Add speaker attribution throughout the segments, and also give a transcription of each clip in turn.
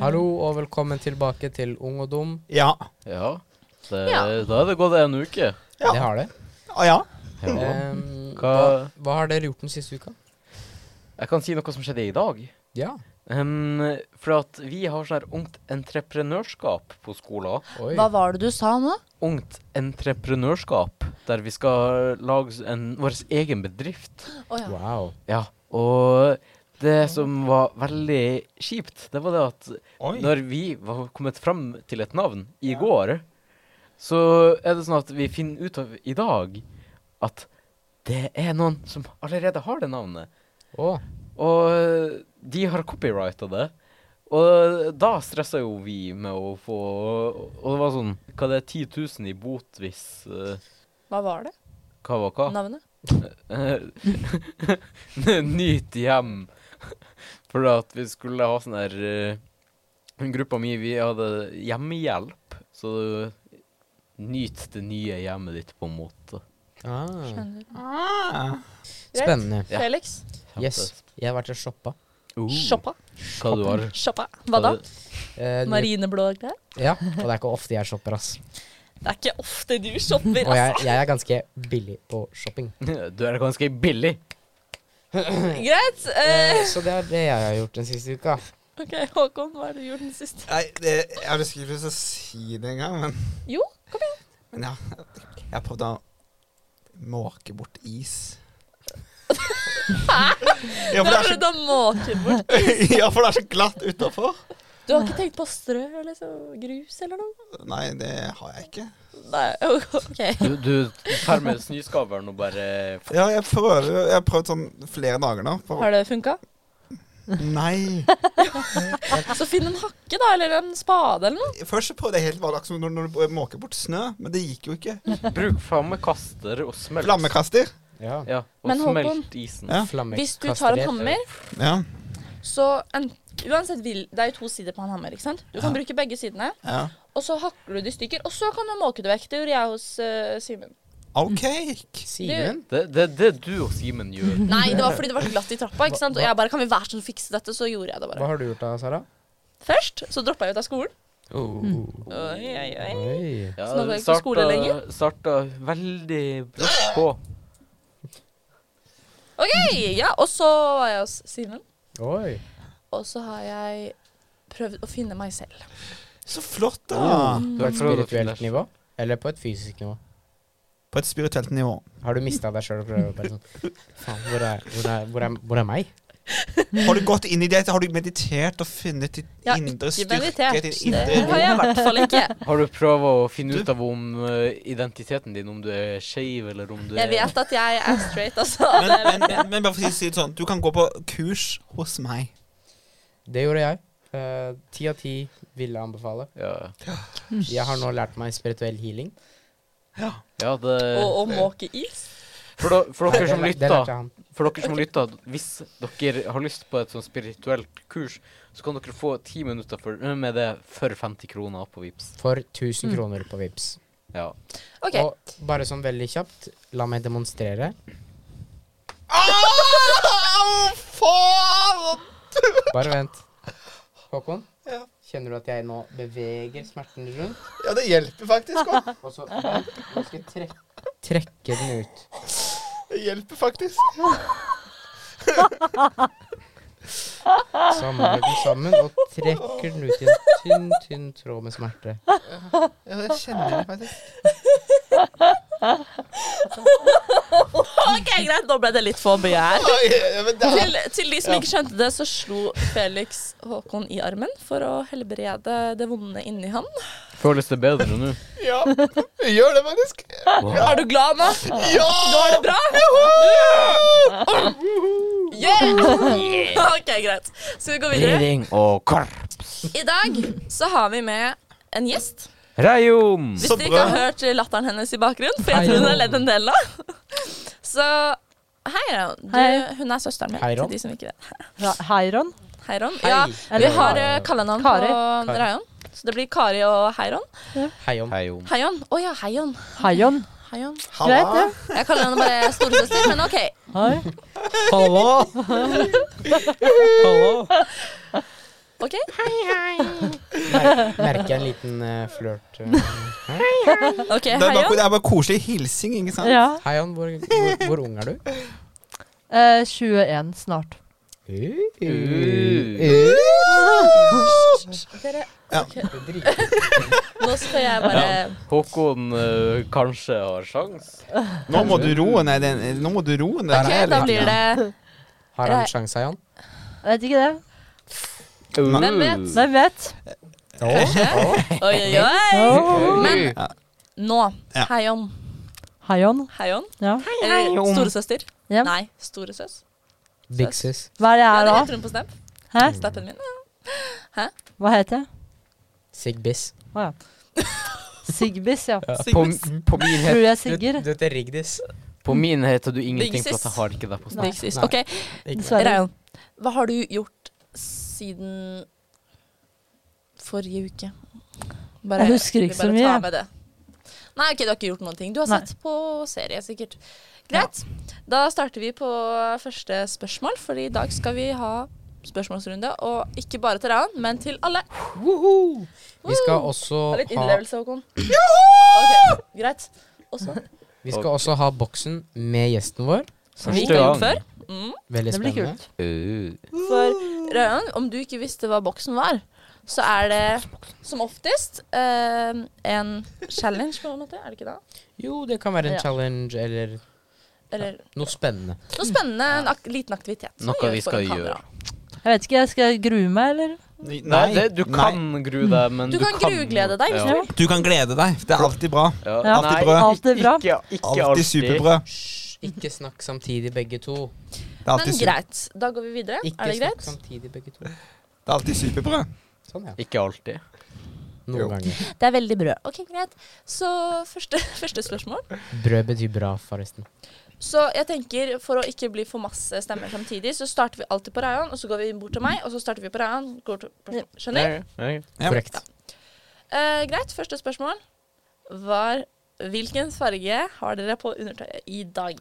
Speaker 1: Hallo og velkommen tilbake til Ung og dum.
Speaker 2: Ja.
Speaker 3: Ja. Det,
Speaker 4: Ja.
Speaker 3: Da er det gått en uke.
Speaker 2: Ja.
Speaker 1: Det har det.
Speaker 2: Ah, ja.
Speaker 1: Ehm, hva,
Speaker 3: Hva-
Speaker 1: hva har dere gjort den siste uka?
Speaker 3: Jeg kan si noe som skjedde i dag.
Speaker 1: Ja.
Speaker 3: Um, for at vi har sånn her ungt entreprenørskap på skolen.
Speaker 1: Oi.
Speaker 4: Hva var det du sa nå?
Speaker 3: Ungt entreprenørskap, der vi skal lage en, vår egen bedrift.
Speaker 4: Å ja.
Speaker 1: Wow.
Speaker 3: Ja. Og det som var veldig kjipt, det var det at
Speaker 2: Oi.
Speaker 3: Når vi var kommet fram til et navn i går, så er det sånn at vi finner ut av i dag at det er noen som allerede har det navnet.
Speaker 1: Å,
Speaker 3: Og eh, de har copyrighta det. Og eh, da stressa jo vi med å få Og det var sånn Hva det er 10 000 i bot hvis eh,
Speaker 4: Hva var det?
Speaker 3: Hva var hva?
Speaker 4: Navnet?
Speaker 3: Eh, Nyt hjem. For at vi skulle ha sånn her eh, Gruppa mi, vi hadde hjemmehjelp. Så nyt det nye hjemmet ditt, på en måte.
Speaker 1: ah.
Speaker 4: Skjønner.
Speaker 2: Ah.
Speaker 4: Greit.
Speaker 1: Spennende.
Speaker 3: Ja.
Speaker 4: Felix?
Speaker 1: Yes. Jeg har vært og shoppa.
Speaker 3: Uh,
Speaker 4: Shoppa.
Speaker 3: Hva du har?
Speaker 4: Shoppa. Hva da?
Speaker 3: det-
Speaker 1: Eh, du-
Speaker 4: Marineblå klær?
Speaker 1: Ja, og det er ikke ofte jeg shopper, ass.
Speaker 4: Det er ikke ofte du shopper,
Speaker 1: Og jeg,
Speaker 4: altså.
Speaker 1: jeg er ganske billig på shopping.
Speaker 3: Du er ganske billig.
Speaker 4: Greit. Eh,
Speaker 1: Eh, så det er det jeg har gjort den siste uka.
Speaker 4: OK, Håkon, hva har du gjort den siste?
Speaker 2: Nei, det, jeg hadde ikke lyst til å si det engang, men,
Speaker 4: Jo,
Speaker 2: men ja. Jeg prøvde å måke bort is. Hæ? Ja,
Speaker 4: da
Speaker 2: for det er
Speaker 4: har
Speaker 2: så,
Speaker 4: du da måker bort.
Speaker 2: ja, for det er så glatt utafor.
Speaker 4: Du har ikke tenkt på strø eller så, grus eller noe?
Speaker 2: Nei, det har jeg ikke.
Speaker 4: Nei, OK.
Speaker 3: Du, du tar med snøskaveren og bare
Speaker 2: Ja, jeg prøver Jeg har prøvd sånn flere dager nå. På.
Speaker 4: Har det funka?
Speaker 2: Nei.
Speaker 4: Så finn en hakke, da, eller en spade eller noe.
Speaker 2: Først så prøvde jeg helt vanlig, akkurat som når, når du måker bort snø, men det gikk jo ikke.
Speaker 3: Bruk flammekaster og smelt.
Speaker 2: Flammekaster.
Speaker 1: Ja.
Speaker 3: Ja, og
Speaker 4: Men Håkon-
Speaker 3: smelt isen.
Speaker 2: Ja.
Speaker 4: Hvis du tar en hammer
Speaker 2: Ja.
Speaker 4: Så en, uansett vil, Det er jo to sider på en hammer. ikke sant? Du kan
Speaker 2: Ja.
Speaker 4: bruke begge sidene,
Speaker 2: ja.
Speaker 4: og så hakker du det i stykker. Og så kan du måke det vekk. Det gjorde jeg hos eh, Simen.
Speaker 2: OK.
Speaker 1: Eh, Simen?
Speaker 3: Det, det, det du og Simen gjør.
Speaker 4: Nei, det var fordi det var så glatt i trappa. ikke sant? Og jeg bare Kan vi være sånn fikse dette? Så gjorde jeg det
Speaker 1: Hva
Speaker 4: bare.
Speaker 1: har du gjort da, Sara?
Speaker 4: Først så droppa jeg ut av skolen.
Speaker 3: Oh.
Speaker 4: Oi, oi, oi.
Speaker 1: Oi.
Speaker 3: Ja,
Speaker 4: Så nå går jeg ikke på skole lenger?
Speaker 3: Starta veldig brått på.
Speaker 4: OK! Ja, og så var jeg hos Simen.
Speaker 1: Oi.
Speaker 4: Og så har jeg prøvd å finne meg selv.
Speaker 2: Så flott, da.
Speaker 1: På et spirituelt nivå? Eller på et fysisk nivå?
Speaker 2: På et spirituelt nivå.
Speaker 1: Har du mista deg sjøl og prøver bare sånn Faen, hvor er, hvor, er, hvor, er, hvor er meg?
Speaker 2: Har du gått inn i det? Har du meditert og funnet ditt
Speaker 4: Jeg har
Speaker 2: indre
Speaker 4: ikke
Speaker 2: styrke?
Speaker 4: meditert.
Speaker 2: Ditt
Speaker 4: Det
Speaker 2: indre
Speaker 4: har jeg i hvert fall ikke.
Speaker 3: Har du prøvd å finne
Speaker 2: Du-
Speaker 3: ut av om eh, identiteten din, om du er skeiv eller om du
Speaker 4: Jeg
Speaker 3: er
Speaker 4: vet at jeg er straight, altså.
Speaker 2: men, men, men, men bare for å si det sånn, du kan gå på kurs hos meg.
Speaker 1: Det gjorde jeg. Eh, Ti av ti ville anbefale.
Speaker 3: Ja,
Speaker 1: Jeg har nå lært meg spirituell healing.
Speaker 3: ja det
Speaker 4: Og å måke is.
Speaker 3: For, da, for dere
Speaker 1: Det
Speaker 3: som
Speaker 1: lær- det lærte
Speaker 3: lytter,
Speaker 1: jeg han.
Speaker 3: for dere som lytter, hvis dere har lyst på et sånn spirituelt kurs, så kan dere få ti minutter for, med det for 50 kroner på Vipps.
Speaker 1: For 1000 kroner på Vipps.
Speaker 3: Ja.
Speaker 4: OK.
Speaker 1: Og bare sånn veldig kjapt, la meg demonstrere.
Speaker 2: Au, faen!
Speaker 1: Bare vent. Håkon,
Speaker 2: Ja.
Speaker 1: kjenner du at jeg nå beveger smerten rundt?
Speaker 2: Ja, det hjelper faktisk òg.
Speaker 1: Og så vent, nå skal jeg trekke, trekke den ut.
Speaker 2: Det hjelper faktisk.
Speaker 1: Samle den sammen og trekker den ut i en tynn, tynn tråd med smerte.
Speaker 2: Ja, det kjenner jeg faktisk.
Speaker 4: Ok, greit, nå ble det litt for mye her.
Speaker 2: Oi, ja, men det er-
Speaker 4: Til, til de som ikke skjønte det, så slo Felix Håkon i armen for å helbrede det vonde inni han.
Speaker 3: Føles det bedre nå?
Speaker 2: Ja, det gjør det faktisk.
Speaker 4: Er du glad nå?
Speaker 2: Ja!
Speaker 4: Nå er det bra? Yeah! Ok, greit. Skal vi gå videre?
Speaker 3: Reading og korps.
Speaker 4: I dag så har vi med en gjest.
Speaker 3: Reion!
Speaker 4: Hvis
Speaker 2: Så
Speaker 4: dere ikke
Speaker 2: bra.
Speaker 4: har hørt latteren hennes i bakgrunnen, for jeg tror hun har ledd en del nå. Så hei, Ron. Du,
Speaker 5: Hei.
Speaker 4: hun er søsteren min.
Speaker 1: Hei, Ron.
Speaker 4: Til de som ikke vet.
Speaker 5: Ja, Heiron.
Speaker 4: Hei, Ron.
Speaker 1: Hei.
Speaker 4: Ja, vi
Speaker 5: Eller-
Speaker 4: har eh, kallenavn på
Speaker 5: Kari.
Speaker 1: Kari.
Speaker 4: Rayon. Så det blir Kari og Heiron.
Speaker 1: Hei om.
Speaker 3: Hei, Jon.
Speaker 4: Heion. Å ja, Heion.
Speaker 5: Heion.
Speaker 4: Heion.
Speaker 5: Greit, det.
Speaker 4: Jeg kaller henne bare storesøster, men OK.
Speaker 5: Hei.
Speaker 1: Hallo! Hallo!
Speaker 4: OK?
Speaker 1: Mer merker en liten eh, flørt. eh. Hæ?
Speaker 4: Ok,
Speaker 2: Det er, bare,
Speaker 4: Heian.
Speaker 2: det er bare koselig hilsing, ikke sant?
Speaker 5: Ja.
Speaker 1: Hei, Jan. Hvor, hvor, hvor ung er du?
Speaker 5: Eh, 21 snart.
Speaker 1: Eh, Uh.
Speaker 4: Dere,
Speaker 2: Ja.
Speaker 1: eh.
Speaker 4: nå skal jeg bare
Speaker 3: Håkon eh, kanskje har sjans.
Speaker 2: Nå må du roe ned den. Nå må du roe ned
Speaker 4: OK, da blir det
Speaker 1: Har han sjanse, Jan?
Speaker 5: Jeg vet ikke det.
Speaker 4: Hvem vet?
Speaker 3: Uh.
Speaker 5: Hvem vet?
Speaker 4: Oi, oi, oi.
Speaker 5: Oh.
Speaker 4: Men
Speaker 2: Ja.
Speaker 4: nå
Speaker 2: Ja.
Speaker 4: Heion.
Speaker 5: Hayon.
Speaker 4: Heion?
Speaker 5: Ja.
Speaker 4: Eller storesøster?
Speaker 5: Ja.
Speaker 4: Nei, storesøs.
Speaker 1: Big sis.
Speaker 5: Hva er det
Speaker 4: Ja,
Speaker 5: jeg er
Speaker 4: det
Speaker 5: da?
Speaker 4: heter hun på Snap.
Speaker 5: Hæ?
Speaker 4: Snappen min.
Speaker 5: Hva heter jeg?
Speaker 1: Sig Biss.
Speaker 5: Å ja. Sigbis, ja.
Speaker 3: På, på, min het,
Speaker 5: Tror jeg
Speaker 1: Du,
Speaker 5: Sigger.
Speaker 1: du heter Rigdis.
Speaker 3: på min heter du ingenting, for at
Speaker 4: Digsis.
Speaker 3: jeg har ikke deg på
Speaker 5: Nei.
Speaker 3: snakk.
Speaker 4: Big sis.
Speaker 1: Nei.
Speaker 4: OK,
Speaker 1: Ikke.
Speaker 5: Dessverre.
Speaker 4: Rayan. Hva har du gjort siden forrige uke? Bare,
Speaker 5: Jeg husker ikke
Speaker 4: vi
Speaker 5: så
Speaker 4: bare
Speaker 5: mye.
Speaker 4: tar med det. Nei, ok, du har ikke gjort noen ting. Du har
Speaker 5: Nei.
Speaker 4: sett på serie, sikkert. Greit. Da starter vi på første spørsmål, for i dag skal vi ha spørsmålsrunde. Og ikke bare til Rayan, men til alle.
Speaker 1: Woohoo! Vi skal
Speaker 4: Woo!
Speaker 1: også
Speaker 4: Ha litt
Speaker 1: ha
Speaker 4: innlevelse, Håkon. Ok, greit. Og så
Speaker 1: Vi skal også ha boksen med gjesten vår.
Speaker 4: som
Speaker 3: Første
Speaker 4: vi ikke har gjort
Speaker 3: gang.
Speaker 4: før. Mm.
Speaker 1: Veldig
Speaker 5: Det blir
Speaker 1: spennende.
Speaker 5: kult.
Speaker 3: Uh.
Speaker 4: For Røyan, om du ikke visste hva boksen var, så er det som oftest eh, en challenge, på en måte. Er det ikke det?
Speaker 1: Jo, det kan være en
Speaker 5: Ja.
Speaker 1: challenge eller
Speaker 4: Eller
Speaker 1: noe spennende.
Speaker 4: noe spennende, en ak liten aktivitet. som
Speaker 3: Noe
Speaker 4: gjøres
Speaker 3: vi skal
Speaker 4: foran
Speaker 3: gjøre.
Speaker 4: kamera.
Speaker 5: Jeg vet ikke, jeg skal jeg grue meg, eller?
Speaker 2: Nei,
Speaker 3: Nei, det, du kan grue deg, men
Speaker 4: Du
Speaker 3: du,
Speaker 4: kan gruglede deg, hvis
Speaker 3: Ja.
Speaker 4: du
Speaker 2: Du kan glede deg. Det er alltid bra.
Speaker 3: Ja.
Speaker 5: Ja.
Speaker 2: Alltid brød.
Speaker 5: Alt er bra.
Speaker 3: Ikke, ikke
Speaker 2: Alltid superbrød.
Speaker 1: Hysj, ikke snakk samtidig, begge to.
Speaker 2: Det er
Speaker 4: Men
Speaker 2: alltid, su
Speaker 4: greit, da går vi videre.
Speaker 1: Ikke
Speaker 4: er det
Speaker 1: snakk
Speaker 4: greit?
Speaker 1: samtidig, begge to.
Speaker 2: det er alltid superbrød.
Speaker 1: Sånn, ja.
Speaker 3: Ikke alltid.
Speaker 1: Noen
Speaker 2: Jo.
Speaker 1: ganger.
Speaker 4: Det er veldig brød. Ok, greit. Så første, første spørsmål.
Speaker 1: Brød betyr bra, forresten.
Speaker 4: Så jeg tenker, for å ikke bli for masse stemmer samtidig, så starter vi alltid på Rayan, og så går vi bort til meg, og så starter vi på Rayan. Går til, skjønner?
Speaker 3: Nei,
Speaker 2: Ja.
Speaker 1: Korrekt.
Speaker 4: Eh, greit, første spørsmål var Hvilken farge har dere på undertøyet i dag?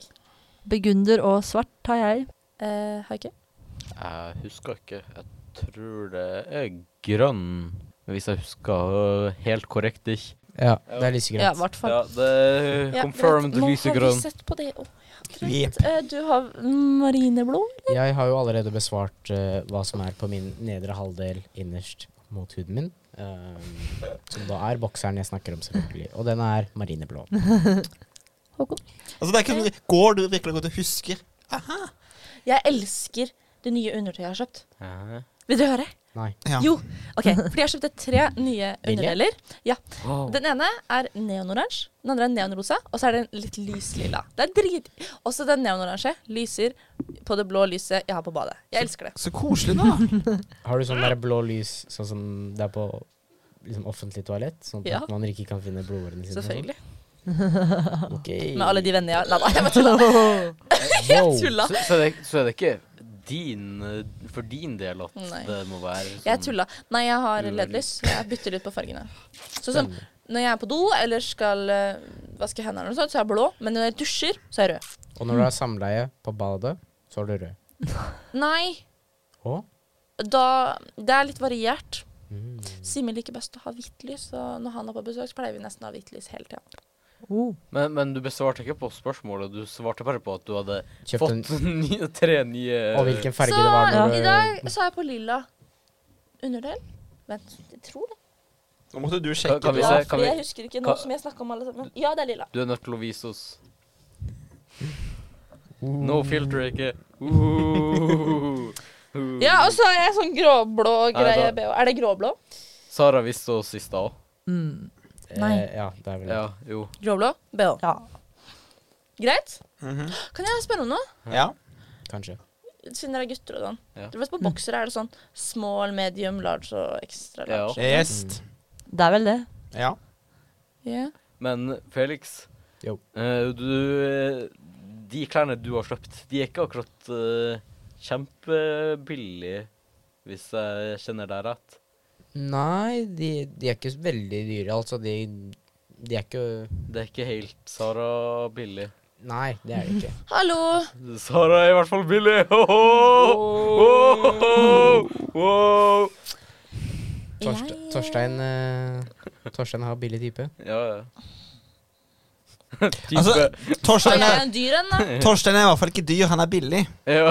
Speaker 5: Begunder og svart har jeg.
Speaker 4: Eh, Haike?
Speaker 3: nei. Jeg husker ikke. Jeg tror det er grønn, hvis jeg husker øh, helt korrekt ikke.
Speaker 1: Ja, det er lysegrønt.
Speaker 4: Ja, i hvert fall.
Speaker 3: Ja, det er confirmed
Speaker 4: greit. Nå har
Speaker 3: lysegrønn.
Speaker 4: vi sett på det òg. Eh, du har marineblå?
Speaker 1: Jeg har jo allerede besvart eh, hva som er på min nedre halvdel innerst mot huden min. eh, som da er bokseren jeg snakker om, selvfølgelig. Og den er marineblå.
Speaker 2: Altså, det er ikke sånn Går du virkelig godt og husker?
Speaker 4: Jeg elsker det nye undertøyet jeg har kjøpt.
Speaker 3: Ja.
Speaker 4: Vil dere høre?
Speaker 1: Nei.
Speaker 2: Ja.
Speaker 4: Jo. Ok, fordi jeg kjøpte tre nye
Speaker 1: Vil jeg?
Speaker 4: underdeler.
Speaker 3: Wow.
Speaker 4: Den ene er neonoransje, den andre er neonrosa, og så er den litt lyslilla. Det er drit... Også den neonoransje lyser på det blå lyset jeg har på badet. Jeg elsker det.
Speaker 2: Så koselig, da.
Speaker 1: Har du sånn der blå lys, sånn som det er på liksom, offentlig toalett? Sånn at
Speaker 4: Ja.
Speaker 1: man ikke kan finne blodårene sine? og sånn?
Speaker 4: Selvfølgelig.
Speaker 1: Ok.
Speaker 4: Med alle de vennene jeg har. Nei da, jeg bare tulla.
Speaker 1: Wow.
Speaker 4: tulla.
Speaker 3: Så, så, er det, så er det ikke din, øh, for din del at
Speaker 4: Nei.
Speaker 3: det må være sånn
Speaker 4: Jeg tulla. Nei, jeg har
Speaker 3: Ulovlig.
Speaker 4: LED-lys. Jeg bytter litt på fargene. Så sånn, når jeg er på do eller skal eh, vaske hendene, eller noe sånt, så er jeg blå. Men når jeg dusjer, så er jeg rød.
Speaker 1: Og når du har samleie på badet, så er du rød.
Speaker 4: Nei,
Speaker 1: Å?
Speaker 4: da Det er litt variert.
Speaker 1: Mm.
Speaker 4: Simen liker best å ha hvitt lys, og når han er på besøk, så pleier vi nesten å ha hvitt lys hele tida.
Speaker 5: Oh.
Speaker 3: Men, men du besvarte ikke på spørsmålet. Du svarte bare på at du hadde
Speaker 1: Kjøpt en
Speaker 3: fått nye, tre nye
Speaker 1: Og hvilken farge
Speaker 4: Så
Speaker 1: det var når
Speaker 4: i
Speaker 1: du
Speaker 4: dag så er jeg på lilla underdel. Vent, jeg tror det.
Speaker 2: Nå måtte du
Speaker 3: sjekke Kan vi
Speaker 4: Ja,
Speaker 3: se, kan
Speaker 4: fordi
Speaker 3: vi-
Speaker 4: jeg husker ikke nå
Speaker 3: kan-
Speaker 4: som jeg snakka om alle sammen. Ja, det er lilla.
Speaker 3: Du er nødt til å vise oss. No filter, ikke. Uh, uh.
Speaker 4: Ja, og så har jeg sånn gråblå greie.
Speaker 3: Nei, da-
Speaker 4: BH. Er det gråblå?
Speaker 3: Sara viste oss i stad.
Speaker 5: Mm.
Speaker 4: Nei.
Speaker 1: Eh, ja, det er vel
Speaker 3: Ja, jo.
Speaker 4: Gråblå BH.
Speaker 5: Ja.
Speaker 4: Greit? Kan jeg spørre om noe?
Speaker 2: Mhm. Ja.
Speaker 1: Kanskje.
Speaker 4: Siden dere er gutter og sånn.
Speaker 3: Ja.
Speaker 4: Du vet På boksere er det sånn small, medium, large og extra
Speaker 3: Ja.
Speaker 4: large.
Speaker 2: Yes.
Speaker 5: Det er vel det.
Speaker 2: Ja.
Speaker 4: Ja.
Speaker 3: Men Felix,
Speaker 1: Jo.
Speaker 3: eh, du De klærne du har kjøpt, de er ikke akkurat eh, kjempebillige, hvis jeg kjenner deg rett.
Speaker 1: Nei, de, de er ikke veldig dyre. Altså, de, de er ikke
Speaker 3: Det er ikke helt Sara billig.
Speaker 1: Nei, det er de ikke.
Speaker 4: Hallo!
Speaker 3: Sara er i hvert fall billig! Ho-ho! Ho-ho! Wow!
Speaker 1: Torste,
Speaker 4: Jeg, eh,
Speaker 1: Torstein, eh, Torstein har billig type.
Speaker 3: Ja, ja. Type.
Speaker 2: Altså,
Speaker 3: Sånn,
Speaker 4: Han
Speaker 2: Torstein
Speaker 4: er
Speaker 2: er,
Speaker 4: en dyr en, da.
Speaker 2: Torstein er i hvert fall ikke dyr, han er billig.
Speaker 3: ja.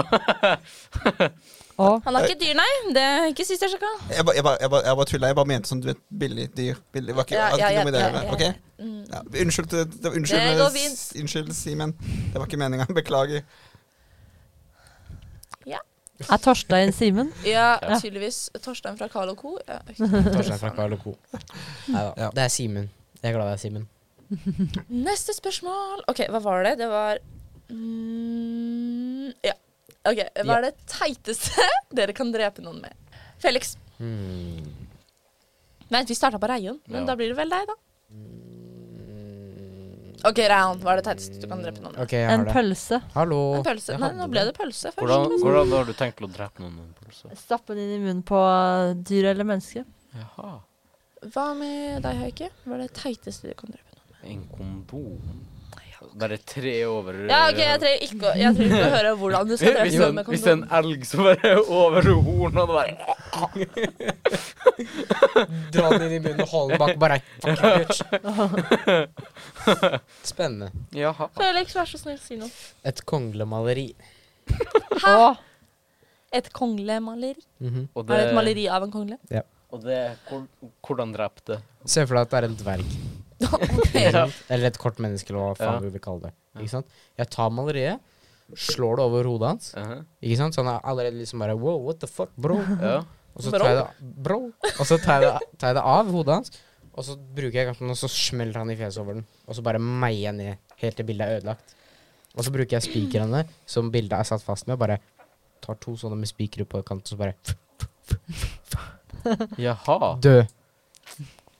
Speaker 5: Og
Speaker 4: Han er ikke dyr, nei. Det er ikke sist jeg sjekka.
Speaker 2: Jeg bare, jeg bare, jeg bare, jeg bare tulla. Jeg bare mente sånn du vet, billig dyr. Billig, var ikke,
Speaker 4: Ja,
Speaker 2: hadde
Speaker 4: ja,
Speaker 2: ikke
Speaker 4: ja,
Speaker 2: noe med det å
Speaker 4: ja,
Speaker 2: gjøre.
Speaker 4: ja,
Speaker 2: ok?
Speaker 4: ja. Mm.
Speaker 2: Ja, unnskyld, det, det,
Speaker 4: Det
Speaker 2: unnskyld,
Speaker 4: går
Speaker 2: eh,
Speaker 4: fint.
Speaker 2: s- unnskyld, Simen. Det var ikke meninga. Beklager.
Speaker 5: er Torstein Simen?
Speaker 4: Ja,
Speaker 3: Ja.
Speaker 4: tydeligvis. Torstein fra Carl Co. Ja,
Speaker 1: Torstein fra Carl Co. Neida,
Speaker 2: Ja.
Speaker 1: Det er Simen. Jeg er glad det er Simen.
Speaker 4: Neste spørsmål. OK, hva var det? Det var mm, Ja. OK. Hva er det teiteste dere kan drepe noen med? Felix.
Speaker 1: Hmm.
Speaker 4: Vent, vi starta på Reion, men
Speaker 3: Ja.
Speaker 4: da blir det vel deg, da. Mm. OK, Reion. Hva er det teiteste du kan drepe noen med?
Speaker 1: Ok, jeg
Speaker 5: En
Speaker 1: har det.
Speaker 5: pølse.
Speaker 1: Hallo.
Speaker 4: En pølse?
Speaker 1: Jeg
Speaker 4: Nei,
Speaker 1: hadde
Speaker 4: nå ble det pølse først.
Speaker 3: hvordan, hvordan har du tenkt å drepe noen med en pølse?
Speaker 5: Stappe den inn i munnen på dyr eller menneske.
Speaker 3: Jaha.
Speaker 4: Hva med deg, Høyke? Hva er det teiteste du kan drepe noen med?
Speaker 3: En kondom? Bare tre over
Speaker 4: Ja, OK, jeg trenger ikke å, jeg trenger ikke å høre hvordan du skal
Speaker 3: hvis
Speaker 4: drepe noen
Speaker 3: en,
Speaker 4: med
Speaker 3: hvis en
Speaker 4: kondom.
Speaker 3: elg som bare er over hornet og bare
Speaker 1: Dra den inn i munnen og holde den bak bare Fuck, bitch. Spennende.
Speaker 3: Jaha.
Speaker 4: Felix, vær så snill, si noe.
Speaker 1: Et konglemaleri.
Speaker 5: Og
Speaker 4: Et konglemaleri.
Speaker 1: Mhm.
Speaker 3: Og
Speaker 4: Er det et maleri av en kongle?
Speaker 3: Og det hvor, Hvordan drepte?
Speaker 1: Se for deg at det er en dverg.
Speaker 3: Ja.
Speaker 1: Eller et kort menneske, eller hva faen
Speaker 3: Ja.
Speaker 1: vi vil kalle det. Ikke sant? Jeg tar maleriet, slår det over hodet hans.
Speaker 3: Aha.
Speaker 1: Ikke sant? Så han er allerede liksom bare Wow, what the fuck, bro?
Speaker 3: Ja.
Speaker 1: Og så
Speaker 4: Bro?
Speaker 1: tar jeg det, bro. Og så tar jeg det, tar jeg det av hodet hans, og så bruker jeg kaften, og så smeller han i fjeset over den. Og så bare meier jeg ned helt til bildet er ødelagt. Og så bruker jeg spikrene som bildet er satt fast med, og bare tar to sånne med spikere på kant, og så bare
Speaker 3: Jaha.
Speaker 1: dø.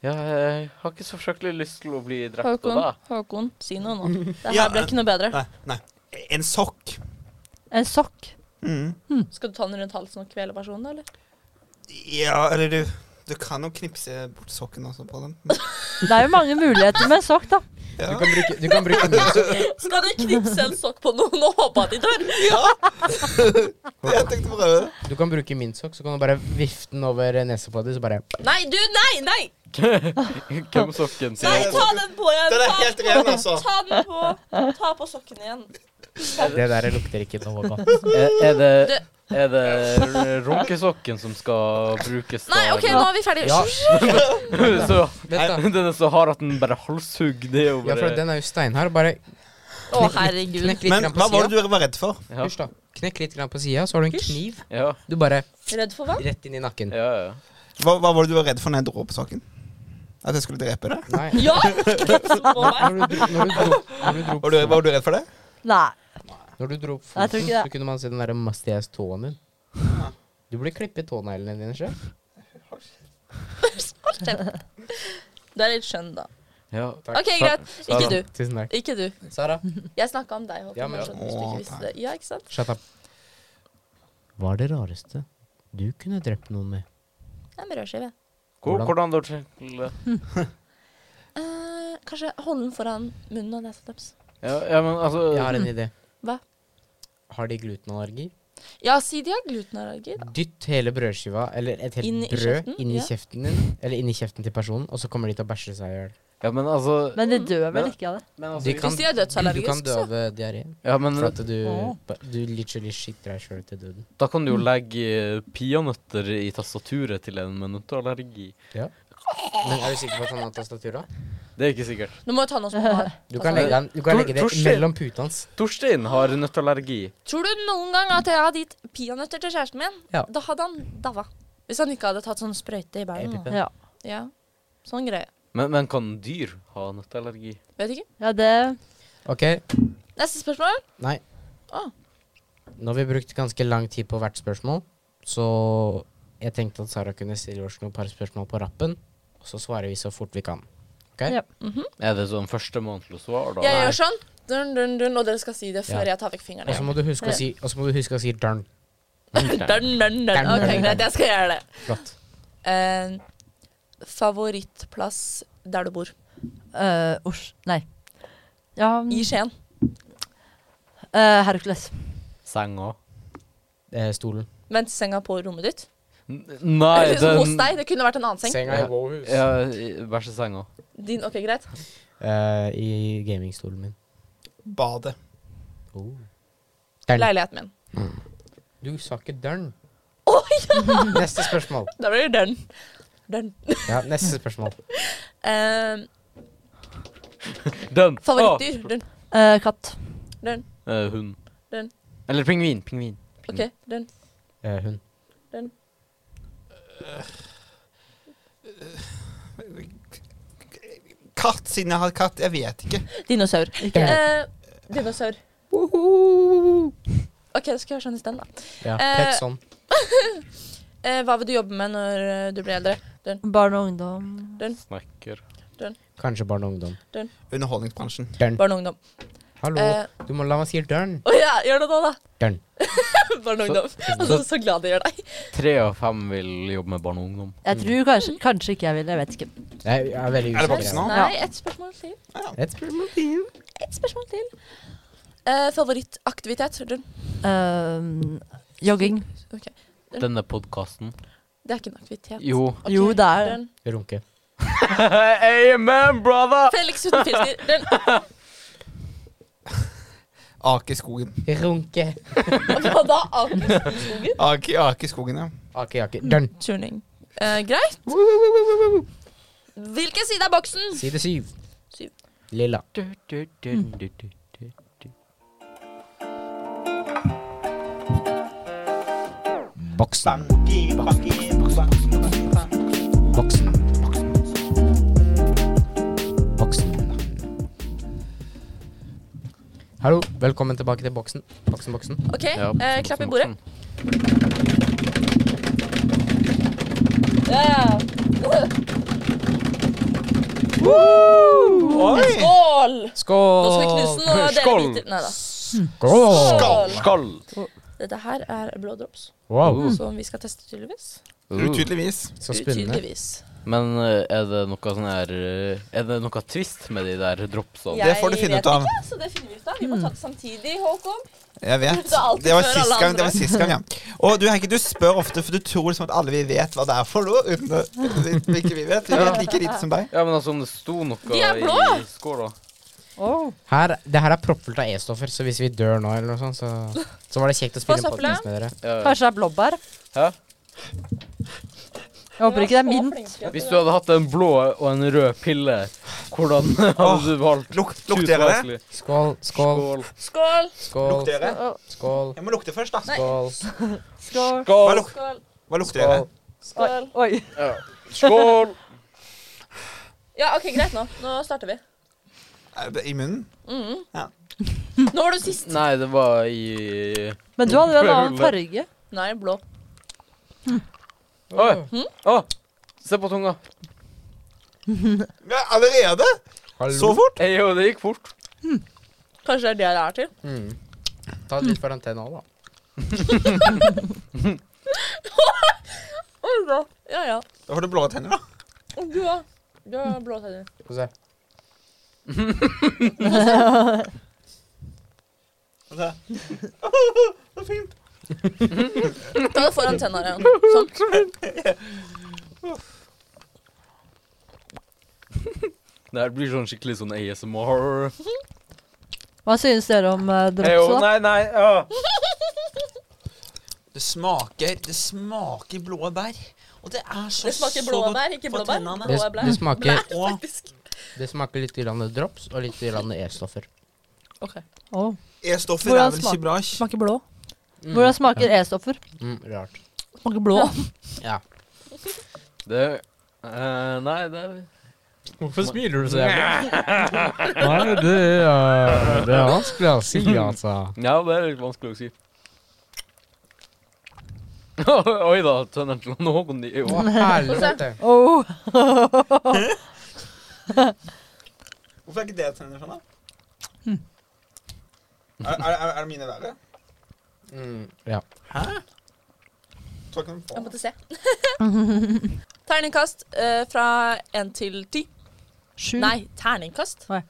Speaker 3: Ja, jeg har ikke så fryktelig lyst til å bli drept av
Speaker 4: Håkon,
Speaker 3: deg.
Speaker 4: Håkon, si noe nå. Det
Speaker 2: Ja,
Speaker 4: her ble ikke noe bedre.
Speaker 2: Nei. nei. En sokk.
Speaker 5: en sokk.
Speaker 2: Mm.
Speaker 4: Skal du ta den rundt halsen og kvele personen, eller?
Speaker 2: Ja, eller du Du kan jo knipse bort sokken også på den.
Speaker 5: Det er jo mange muligheter med en sokk, da.
Speaker 1: Du
Speaker 2: Ja.
Speaker 1: kan bruke, du kan bruke den som
Speaker 4: Skal du knipse en sokk på noen og håpe at de dør?
Speaker 2: Jeg tenkte å prøve det.
Speaker 1: Du kan bruke min sokk, så kan du bare vifte den over nesa på deg, så bare
Speaker 4: Nei, du, nei, nei!
Speaker 3: Hvem sokken
Speaker 4: Nei,
Speaker 3: til?
Speaker 4: ta den på igjen!
Speaker 2: Den er
Speaker 4: ta
Speaker 2: helt
Speaker 4: på-
Speaker 2: ren, altså.
Speaker 4: Ta den på. Ta på sokken igjen.
Speaker 1: Det der lukter ikke noe godt.
Speaker 3: Er, er det er det runkesokken som skal brukes da?
Speaker 4: Nei, OK, nå er vi ferdige.
Speaker 1: Ja.
Speaker 3: så,
Speaker 1: Vent da.
Speaker 3: den er så hard at den bare halshugger det er jo
Speaker 1: Ja, for
Speaker 3: bare
Speaker 1: den er jo steinhard. Bare
Speaker 4: Å, herregud.
Speaker 1: knekk litt
Speaker 2: Men
Speaker 1: grann på
Speaker 2: hva var
Speaker 1: sida.
Speaker 2: det du var redd for?
Speaker 3: Ja,
Speaker 1: Hysj, da. Knekk litt grann på sida, så har du en kniv.
Speaker 3: ja,
Speaker 1: Du bare
Speaker 4: Redd for hva?
Speaker 1: rett inn i nakken.
Speaker 3: ja, ja.
Speaker 2: Hva, hva var det du var redd for når jeg dro opp sokken? At jeg skulle drepe deg?
Speaker 1: Nei.
Speaker 4: Ja! ikke sånn på meg.
Speaker 1: Når du dro, når du dro, når du dro
Speaker 2: Var du, var du redd for det?
Speaker 5: Nei.
Speaker 1: Når du dro opp
Speaker 5: Nei, jeg
Speaker 1: foten,
Speaker 5: tror ikke det.
Speaker 1: så kunne man se den der musty ass tåen din. Du blir klippet tåneglene dine, sjef.
Speaker 4: Hold kjeft. Du er litt skjønn, da.
Speaker 3: ja.
Speaker 1: Takk.
Speaker 4: OK, greit. Ikke du.
Speaker 1: Tusen takk.
Speaker 4: Ikke du.
Speaker 1: Sara.
Speaker 4: Jeg snakka om deg, Håkon.
Speaker 1: Ja, men-
Speaker 4: jeg skjønner hvis du
Speaker 2: Å,
Speaker 4: ikke visste det. Ja, ikke sant?
Speaker 1: Shut up. Hva er det rareste du kunne drept noen med?
Speaker 4: En brødskive.
Speaker 3: Hvor- Hvordan da? Ja,
Speaker 4: Eh, kanskje holde den foran munnen og nesa deres.
Speaker 3: ja, men altså
Speaker 1: Jeg har en idé.
Speaker 4: Hva?
Speaker 1: Har de glutenallergi?
Speaker 4: Ja, si de har glutenallergi, da.
Speaker 1: Dytt hele brødskiva, eller et helt
Speaker 4: Inn i
Speaker 1: brød,
Speaker 4: kjeften?
Speaker 1: inn i
Speaker 4: Ja.
Speaker 1: kjeften din. Eller inn i kjeften til personen, og så kommer de til å bæsje seg i hjel.
Speaker 3: Ja, men altså,
Speaker 5: Men de dør vel
Speaker 3: Men-
Speaker 5: ikke av det.
Speaker 3: men altså
Speaker 1: De kan-
Speaker 4: Hvis de
Speaker 1: Du
Speaker 4: er
Speaker 1: kan
Speaker 4: dødsallergisk,
Speaker 1: dø
Speaker 4: så
Speaker 1: av diaré.
Speaker 3: Ja, men
Speaker 1: For at du,
Speaker 5: Åh.
Speaker 1: du literally skitter deg sjøl til døden.
Speaker 3: da kan du jo legge peanøtter i tastaturet til en med nøtteallergi.
Speaker 1: Men er du sikker på at han har tastatur, da?
Speaker 3: Det er ikke sikkert.
Speaker 4: Nå må jeg ta noe som har
Speaker 1: Du kan legge, den, du kan legge det
Speaker 3: Torstein.
Speaker 1: mellom putene hans.
Speaker 3: Torstein har nøtteallergi.
Speaker 4: Tror du noen gang at jeg hadde gitt peanøtter til kjæresten min?
Speaker 1: Ja.
Speaker 4: Da hadde han daua. Hvis han ikke hadde tatt sånn sprøyte i beina.
Speaker 1: Epipen.
Speaker 5: Ja.
Speaker 4: Ja. Sånn greie.
Speaker 3: Men, men kan dyr ha nøtteallergi?
Speaker 4: Vet ikke.
Speaker 5: ja, det
Speaker 1: Ok,
Speaker 4: Neste spørsmål.
Speaker 1: nei.
Speaker 4: Å.
Speaker 1: Nå har vi brukt ganske lang tid på hvert spørsmål, så jeg tenkte at Sara kunne stille oss noen par spørsmål på rappen, og så svarer vi så fort vi kan. Ok?
Speaker 5: Ja.
Speaker 3: Er det sånn førstemann til å svare, da?
Speaker 4: Jeg gjør sånn, dun, dun, dun, og dere skal si det før
Speaker 1: Ja.
Speaker 4: jeg tar
Speaker 1: Og
Speaker 4: vekk
Speaker 1: så
Speaker 4: fingrene.
Speaker 1: må du huske å si, og så må du huske å si darn.
Speaker 4: Dun, dun, dun.
Speaker 1: Dun,
Speaker 4: Ok,
Speaker 1: dun,
Speaker 4: greit, jeg skal gjøre det.
Speaker 1: Flott.
Speaker 4: Eh, favorittplass der du bor?
Speaker 5: øh, Osj. Nei. Ja,
Speaker 4: I Skien.
Speaker 5: øh, Hercules.
Speaker 3: Senga.
Speaker 1: Eh, stolen.
Speaker 4: Vent senga på rommet ditt.
Speaker 3: N- Nei,
Speaker 4: Eller liksom hos
Speaker 3: den
Speaker 4: deg. Det kunne vært en annen seng.
Speaker 1: Senga i
Speaker 3: Ja.
Speaker 1: Wohus.
Speaker 3: Ja, i- bæsjesenga.
Speaker 4: Din, ok, greit.
Speaker 1: Eh, I gamingstolen min.
Speaker 2: Badet.
Speaker 1: Oh. Dern.
Speaker 4: Leiligheten min.
Speaker 1: Du sa ikke dørn.
Speaker 4: Å
Speaker 1: Neste spørsmål.
Speaker 4: Da blir det den. Den.
Speaker 1: Ja, neste spørsmål.
Speaker 4: Eh,
Speaker 3: Den!
Speaker 4: favorittdyr. Den.
Speaker 5: Eh, katt.
Speaker 4: Den.
Speaker 3: Ah, eh, hund.
Speaker 4: Den.
Speaker 3: Eller pingvin. Pingvin.
Speaker 4: Ok, den.
Speaker 1: Eh, hun.
Speaker 2: Katt, siden jeg har katt. Jeg vet ikke.
Speaker 5: Dinosaur. Ikke.
Speaker 4: Eh, dinosaur. OK, da skal jeg skjønne den, da.
Speaker 1: Ja,
Speaker 4: Eh,
Speaker 1: pet sånn.
Speaker 4: Eh, hva vil du jobbe med når eh, du blir eldre?
Speaker 5: Barn og ungdom.
Speaker 3: Snekker.
Speaker 1: Kanskje barn og ungdom.
Speaker 2: Underholdningsbransjen.
Speaker 3: Mm.
Speaker 1: Dørn.
Speaker 4: Barn og ungdom.
Speaker 1: Hallo,
Speaker 4: Eh,
Speaker 1: du må la meg si dørn.
Speaker 4: Å ja, gjør det nå, da.
Speaker 1: Dørn.
Speaker 4: Barn og
Speaker 3: Så-
Speaker 4: ungdom. Altså, så glad det gjør deg.
Speaker 3: Tre av fem vil jobbe med barn og ungdom.
Speaker 5: Jeg tror kanskje, kanskje ikke jeg vil. Jeg vet ikke.
Speaker 1: Jeg jeg er veldig
Speaker 2: Er det
Speaker 1: usikker.
Speaker 2: voksne nå?
Speaker 4: Nei, ett spørsmål til.
Speaker 1: Et spørsmål til.
Speaker 4: Et spørsmål til. Eh, favorittaktivitet? Den.
Speaker 5: Eh, jogging.
Speaker 3: Denne podkasten.
Speaker 4: Det er ikke en aktivitet.
Speaker 3: Jo.
Speaker 4: Ok,
Speaker 5: Jo, det er-
Speaker 4: den.
Speaker 1: Runke.
Speaker 3: Amen, brother!
Speaker 4: Felix uten filter. Den.
Speaker 2: Ake i skogen.
Speaker 1: Runke.
Speaker 4: Hva da? Aker i skogen?
Speaker 2: Ake, ake i skogen, ja.
Speaker 1: Ake, ake. Dørn.
Speaker 4: Turning. Eh, greit. Hvilken side er boksen?
Speaker 1: Side syv.
Speaker 4: Syv.
Speaker 1: Lilla.
Speaker 3: Du, du, du, du, du, du, du.
Speaker 1: Boksen. Boksen. Boksen. Hallo, velkommen tilbake til boksen. Boksen, boksen.
Speaker 4: OK,
Speaker 3: Ja, Mm.
Speaker 4: eh, klapp i
Speaker 3: voksen,
Speaker 4: bordet.
Speaker 3: voksen.
Speaker 4: Ja.
Speaker 2: Oi!
Speaker 4: Skål!
Speaker 1: Skål!
Speaker 4: Nå skal vi knuse den, og dere
Speaker 3: Skål!
Speaker 4: biter Nei da.
Speaker 1: Skål!
Speaker 4: Skål!
Speaker 3: Skål!
Speaker 4: Dette her er blå drops,
Speaker 1: Wow,
Speaker 2: Mm.
Speaker 4: som vi skal teste tydeligvis.
Speaker 3: Uh.
Speaker 2: Utydeligvis.
Speaker 1: så spennende.
Speaker 4: Mm, Tydeligvis.
Speaker 3: Men eh, er det noe sånn her eh, Er det noe twist med de der dropsene?
Speaker 4: Jeg
Speaker 2: Det får du finne ut
Speaker 4: vet
Speaker 2: av.
Speaker 4: Ikke, så det finner vi ut av. Vi må ta det samtidig, Håkon.
Speaker 2: Jeg vet.
Speaker 4: Det er alltid
Speaker 2: Det var
Speaker 4: før alle
Speaker 2: sist gang,
Speaker 4: andre.
Speaker 2: det var sist gang, ja. Og du Henke, du spør ofte, for du tror liksom at alle vi vet hva det er for noe. Uten å- uten at ikke vi vet. Vi vet like lite som deg.
Speaker 3: Ja, men altså, om det sto noe
Speaker 4: De er blå!
Speaker 3: i skåla
Speaker 5: Oh.
Speaker 1: Her, det her er proppfullt av E-stoffer, så hvis vi dør nå, eller noe sånt, så, så var det kjekt å spille
Speaker 4: Hva
Speaker 1: en
Speaker 4: søpla?
Speaker 1: podcast med dere.
Speaker 3: ja.
Speaker 5: Kanskje det er blåbær.
Speaker 3: Eh. Hæ?
Speaker 5: Jeg håper ikke det er mint.
Speaker 3: Hvis du hadde hatt en blå og en rød pille, hvordan hadde
Speaker 2: Åh,
Speaker 3: du valgt?
Speaker 2: Luk, lukt dere det?
Speaker 3: Tusen hjertelig.
Speaker 1: Skål, skål,
Speaker 3: Skål.
Speaker 4: Skål.
Speaker 1: skål,
Speaker 2: Lukt dere?
Speaker 1: skål,
Speaker 2: Jeg må lukte først, da.
Speaker 1: skål,
Speaker 2: Hva,
Speaker 5: Skål.
Speaker 3: Skål.
Speaker 2: luk,
Speaker 4: Skål.
Speaker 2: hva lukter
Speaker 1: skål.
Speaker 2: dere?
Speaker 5: Oi.
Speaker 4: Skål.
Speaker 5: Oi.
Speaker 3: Ja. Skål.
Speaker 4: Ja, OK, greit nå. Nå starter vi.
Speaker 2: Eh, I munnen?
Speaker 4: Mhm.
Speaker 2: Ja.
Speaker 4: Nå var du sist.
Speaker 3: Nei, det var i
Speaker 5: Men du hadde jo en annen farge.
Speaker 4: Nei, blå.
Speaker 3: Oi!
Speaker 4: Hmm?
Speaker 3: Å! Se på tunga.
Speaker 2: Ja, allerede? Så fort?
Speaker 3: Eh, Jo, det gikk fort.
Speaker 4: Kanskje det er det jeg er til.
Speaker 1: Mm. Ta det litt for den tenna, da.
Speaker 4: Å, bra. Ja, ja.
Speaker 2: Da får du blå tenner, da.
Speaker 4: Du har, du har blå tenner.
Speaker 1: Få se.
Speaker 2: Og så- Så fint.
Speaker 4: Ta det foran tennene igjen. Sånn.
Speaker 3: Det her blir sånn skikkelig sånn ASMR.
Speaker 5: Hva synes dere om uh,
Speaker 3: Eh, Jo,
Speaker 5: dropsa?
Speaker 3: nei, nei. ah.
Speaker 2: Det smaker Det smaker blå bær. Og det er så
Speaker 4: Det smaker blåbær, ikke
Speaker 2: på
Speaker 4: blåbær.
Speaker 2: tennene.
Speaker 1: Det,
Speaker 4: Blå er blæ.
Speaker 1: det, smaker,
Speaker 2: Og
Speaker 4: Faktisk.
Speaker 1: det smaker litt grann drops og litt grann E-stoffer.
Speaker 4: Ok.
Speaker 5: Åh.
Speaker 2: E-stoffer
Speaker 5: Hvordan
Speaker 2: er vel
Speaker 5: smaker-
Speaker 2: ikke bra?
Speaker 4: Smaker blå.
Speaker 1: Mm.
Speaker 5: Hvordan smaker E-stoffer?
Speaker 1: Mm, rart.
Speaker 5: Smaker blå.
Speaker 1: Ja.
Speaker 3: Det eh, Nei, det er
Speaker 1: Hvorfor smiler du så jævlig? Nei, det er, det er vanskelig å si, altså.
Speaker 3: Ja, det er litt vanskelig å si. Oi da, tennene til noen de er
Speaker 1: Å,
Speaker 3: jo
Speaker 1: helvete.
Speaker 5: Oh.
Speaker 2: Hvorfor er ikke det tenner sånn, da? Er, er, er, er mine verre?
Speaker 1: Mm, ja.
Speaker 2: Tror ikke noen
Speaker 4: Jeg
Speaker 2: får.
Speaker 4: måtte se. terningkast eh, fra én til ti.
Speaker 5: Sju.
Speaker 4: Nei, terningkast.
Speaker 5: Nei.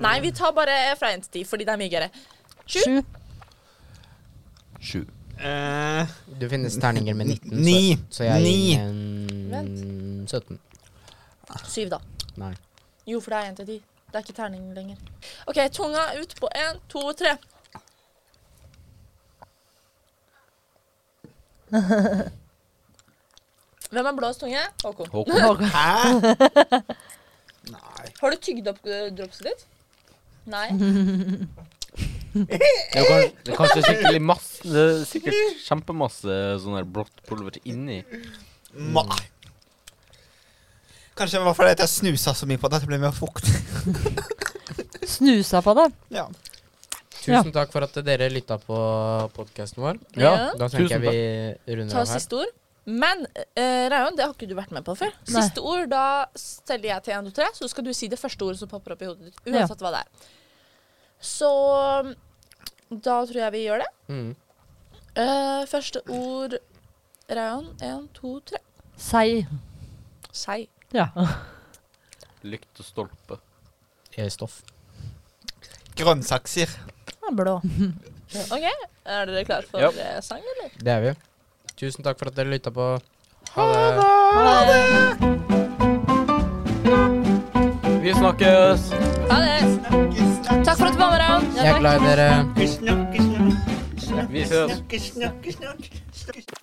Speaker 4: Nei, vi tar bare fra én til ti, fordi det er mye gøyere. Sju.
Speaker 5: Sju.
Speaker 3: Sju.
Speaker 2: Eh,
Speaker 1: Du finnes terninger med 19, så-
Speaker 2: Ni.
Speaker 1: så jeg
Speaker 2: Ni.
Speaker 1: gir en 17.
Speaker 4: Syv, da.
Speaker 1: Nei.
Speaker 4: Jo, for det er én til ti. Det er ikke terning lenger. OK, tunga ut på én, to, tre. Hvem er blåst tunge? Håkon.
Speaker 3: Håkon.
Speaker 2: Hæ?
Speaker 4: Har du tygd opp eh, dropset ditt? Nei.
Speaker 3: Det er, kan- det er kanskje skikkelig masse Det er sikkert kjempemasse sånn her blått pulver inni.
Speaker 2: Nei. Mm. Kanskje det var fordi at jeg snusa så mye på det at det ble mer fukt.
Speaker 5: Snusa på det.
Speaker 2: Ja.
Speaker 5: Ja.
Speaker 1: Tusen takk for at dere lytta på podkasten vår.
Speaker 4: Ja.
Speaker 1: Da tenker
Speaker 3: Tusen
Speaker 1: jeg vi runder
Speaker 4: Ta
Speaker 1: av her.
Speaker 4: siste ord. Men uh, Rayon, det har ikke du vært med på før.
Speaker 5: Nei.
Speaker 4: Siste ord, da steller jeg til 1, 2, 3, så skal du si det første ordet som popper opp i hodet ditt.
Speaker 5: Ja.
Speaker 4: Uansett hva det er. Så da tror jeg vi gjør det.
Speaker 1: Mm.
Speaker 4: Eh, første ord Rayon. 1, 2, 3.
Speaker 5: Sei.
Speaker 4: Sei.
Speaker 5: Ja.
Speaker 3: Lykt og stolpe.
Speaker 1: Eh, Stoff.
Speaker 2: Grønnsakser.
Speaker 5: Blå.
Speaker 4: OK, er dere klare for
Speaker 3: Ja.
Speaker 4: eh, sang, eller?
Speaker 1: Det er vi. Tusen takk for at dere lytta på. Ha det.
Speaker 3: Vi snakkes!
Speaker 4: Ha det! Takk for at du var med, Rayon.
Speaker 1: Jeg er glad i dere.
Speaker 3: Vi ses.
Speaker 2: Snakke, snakke, snakke.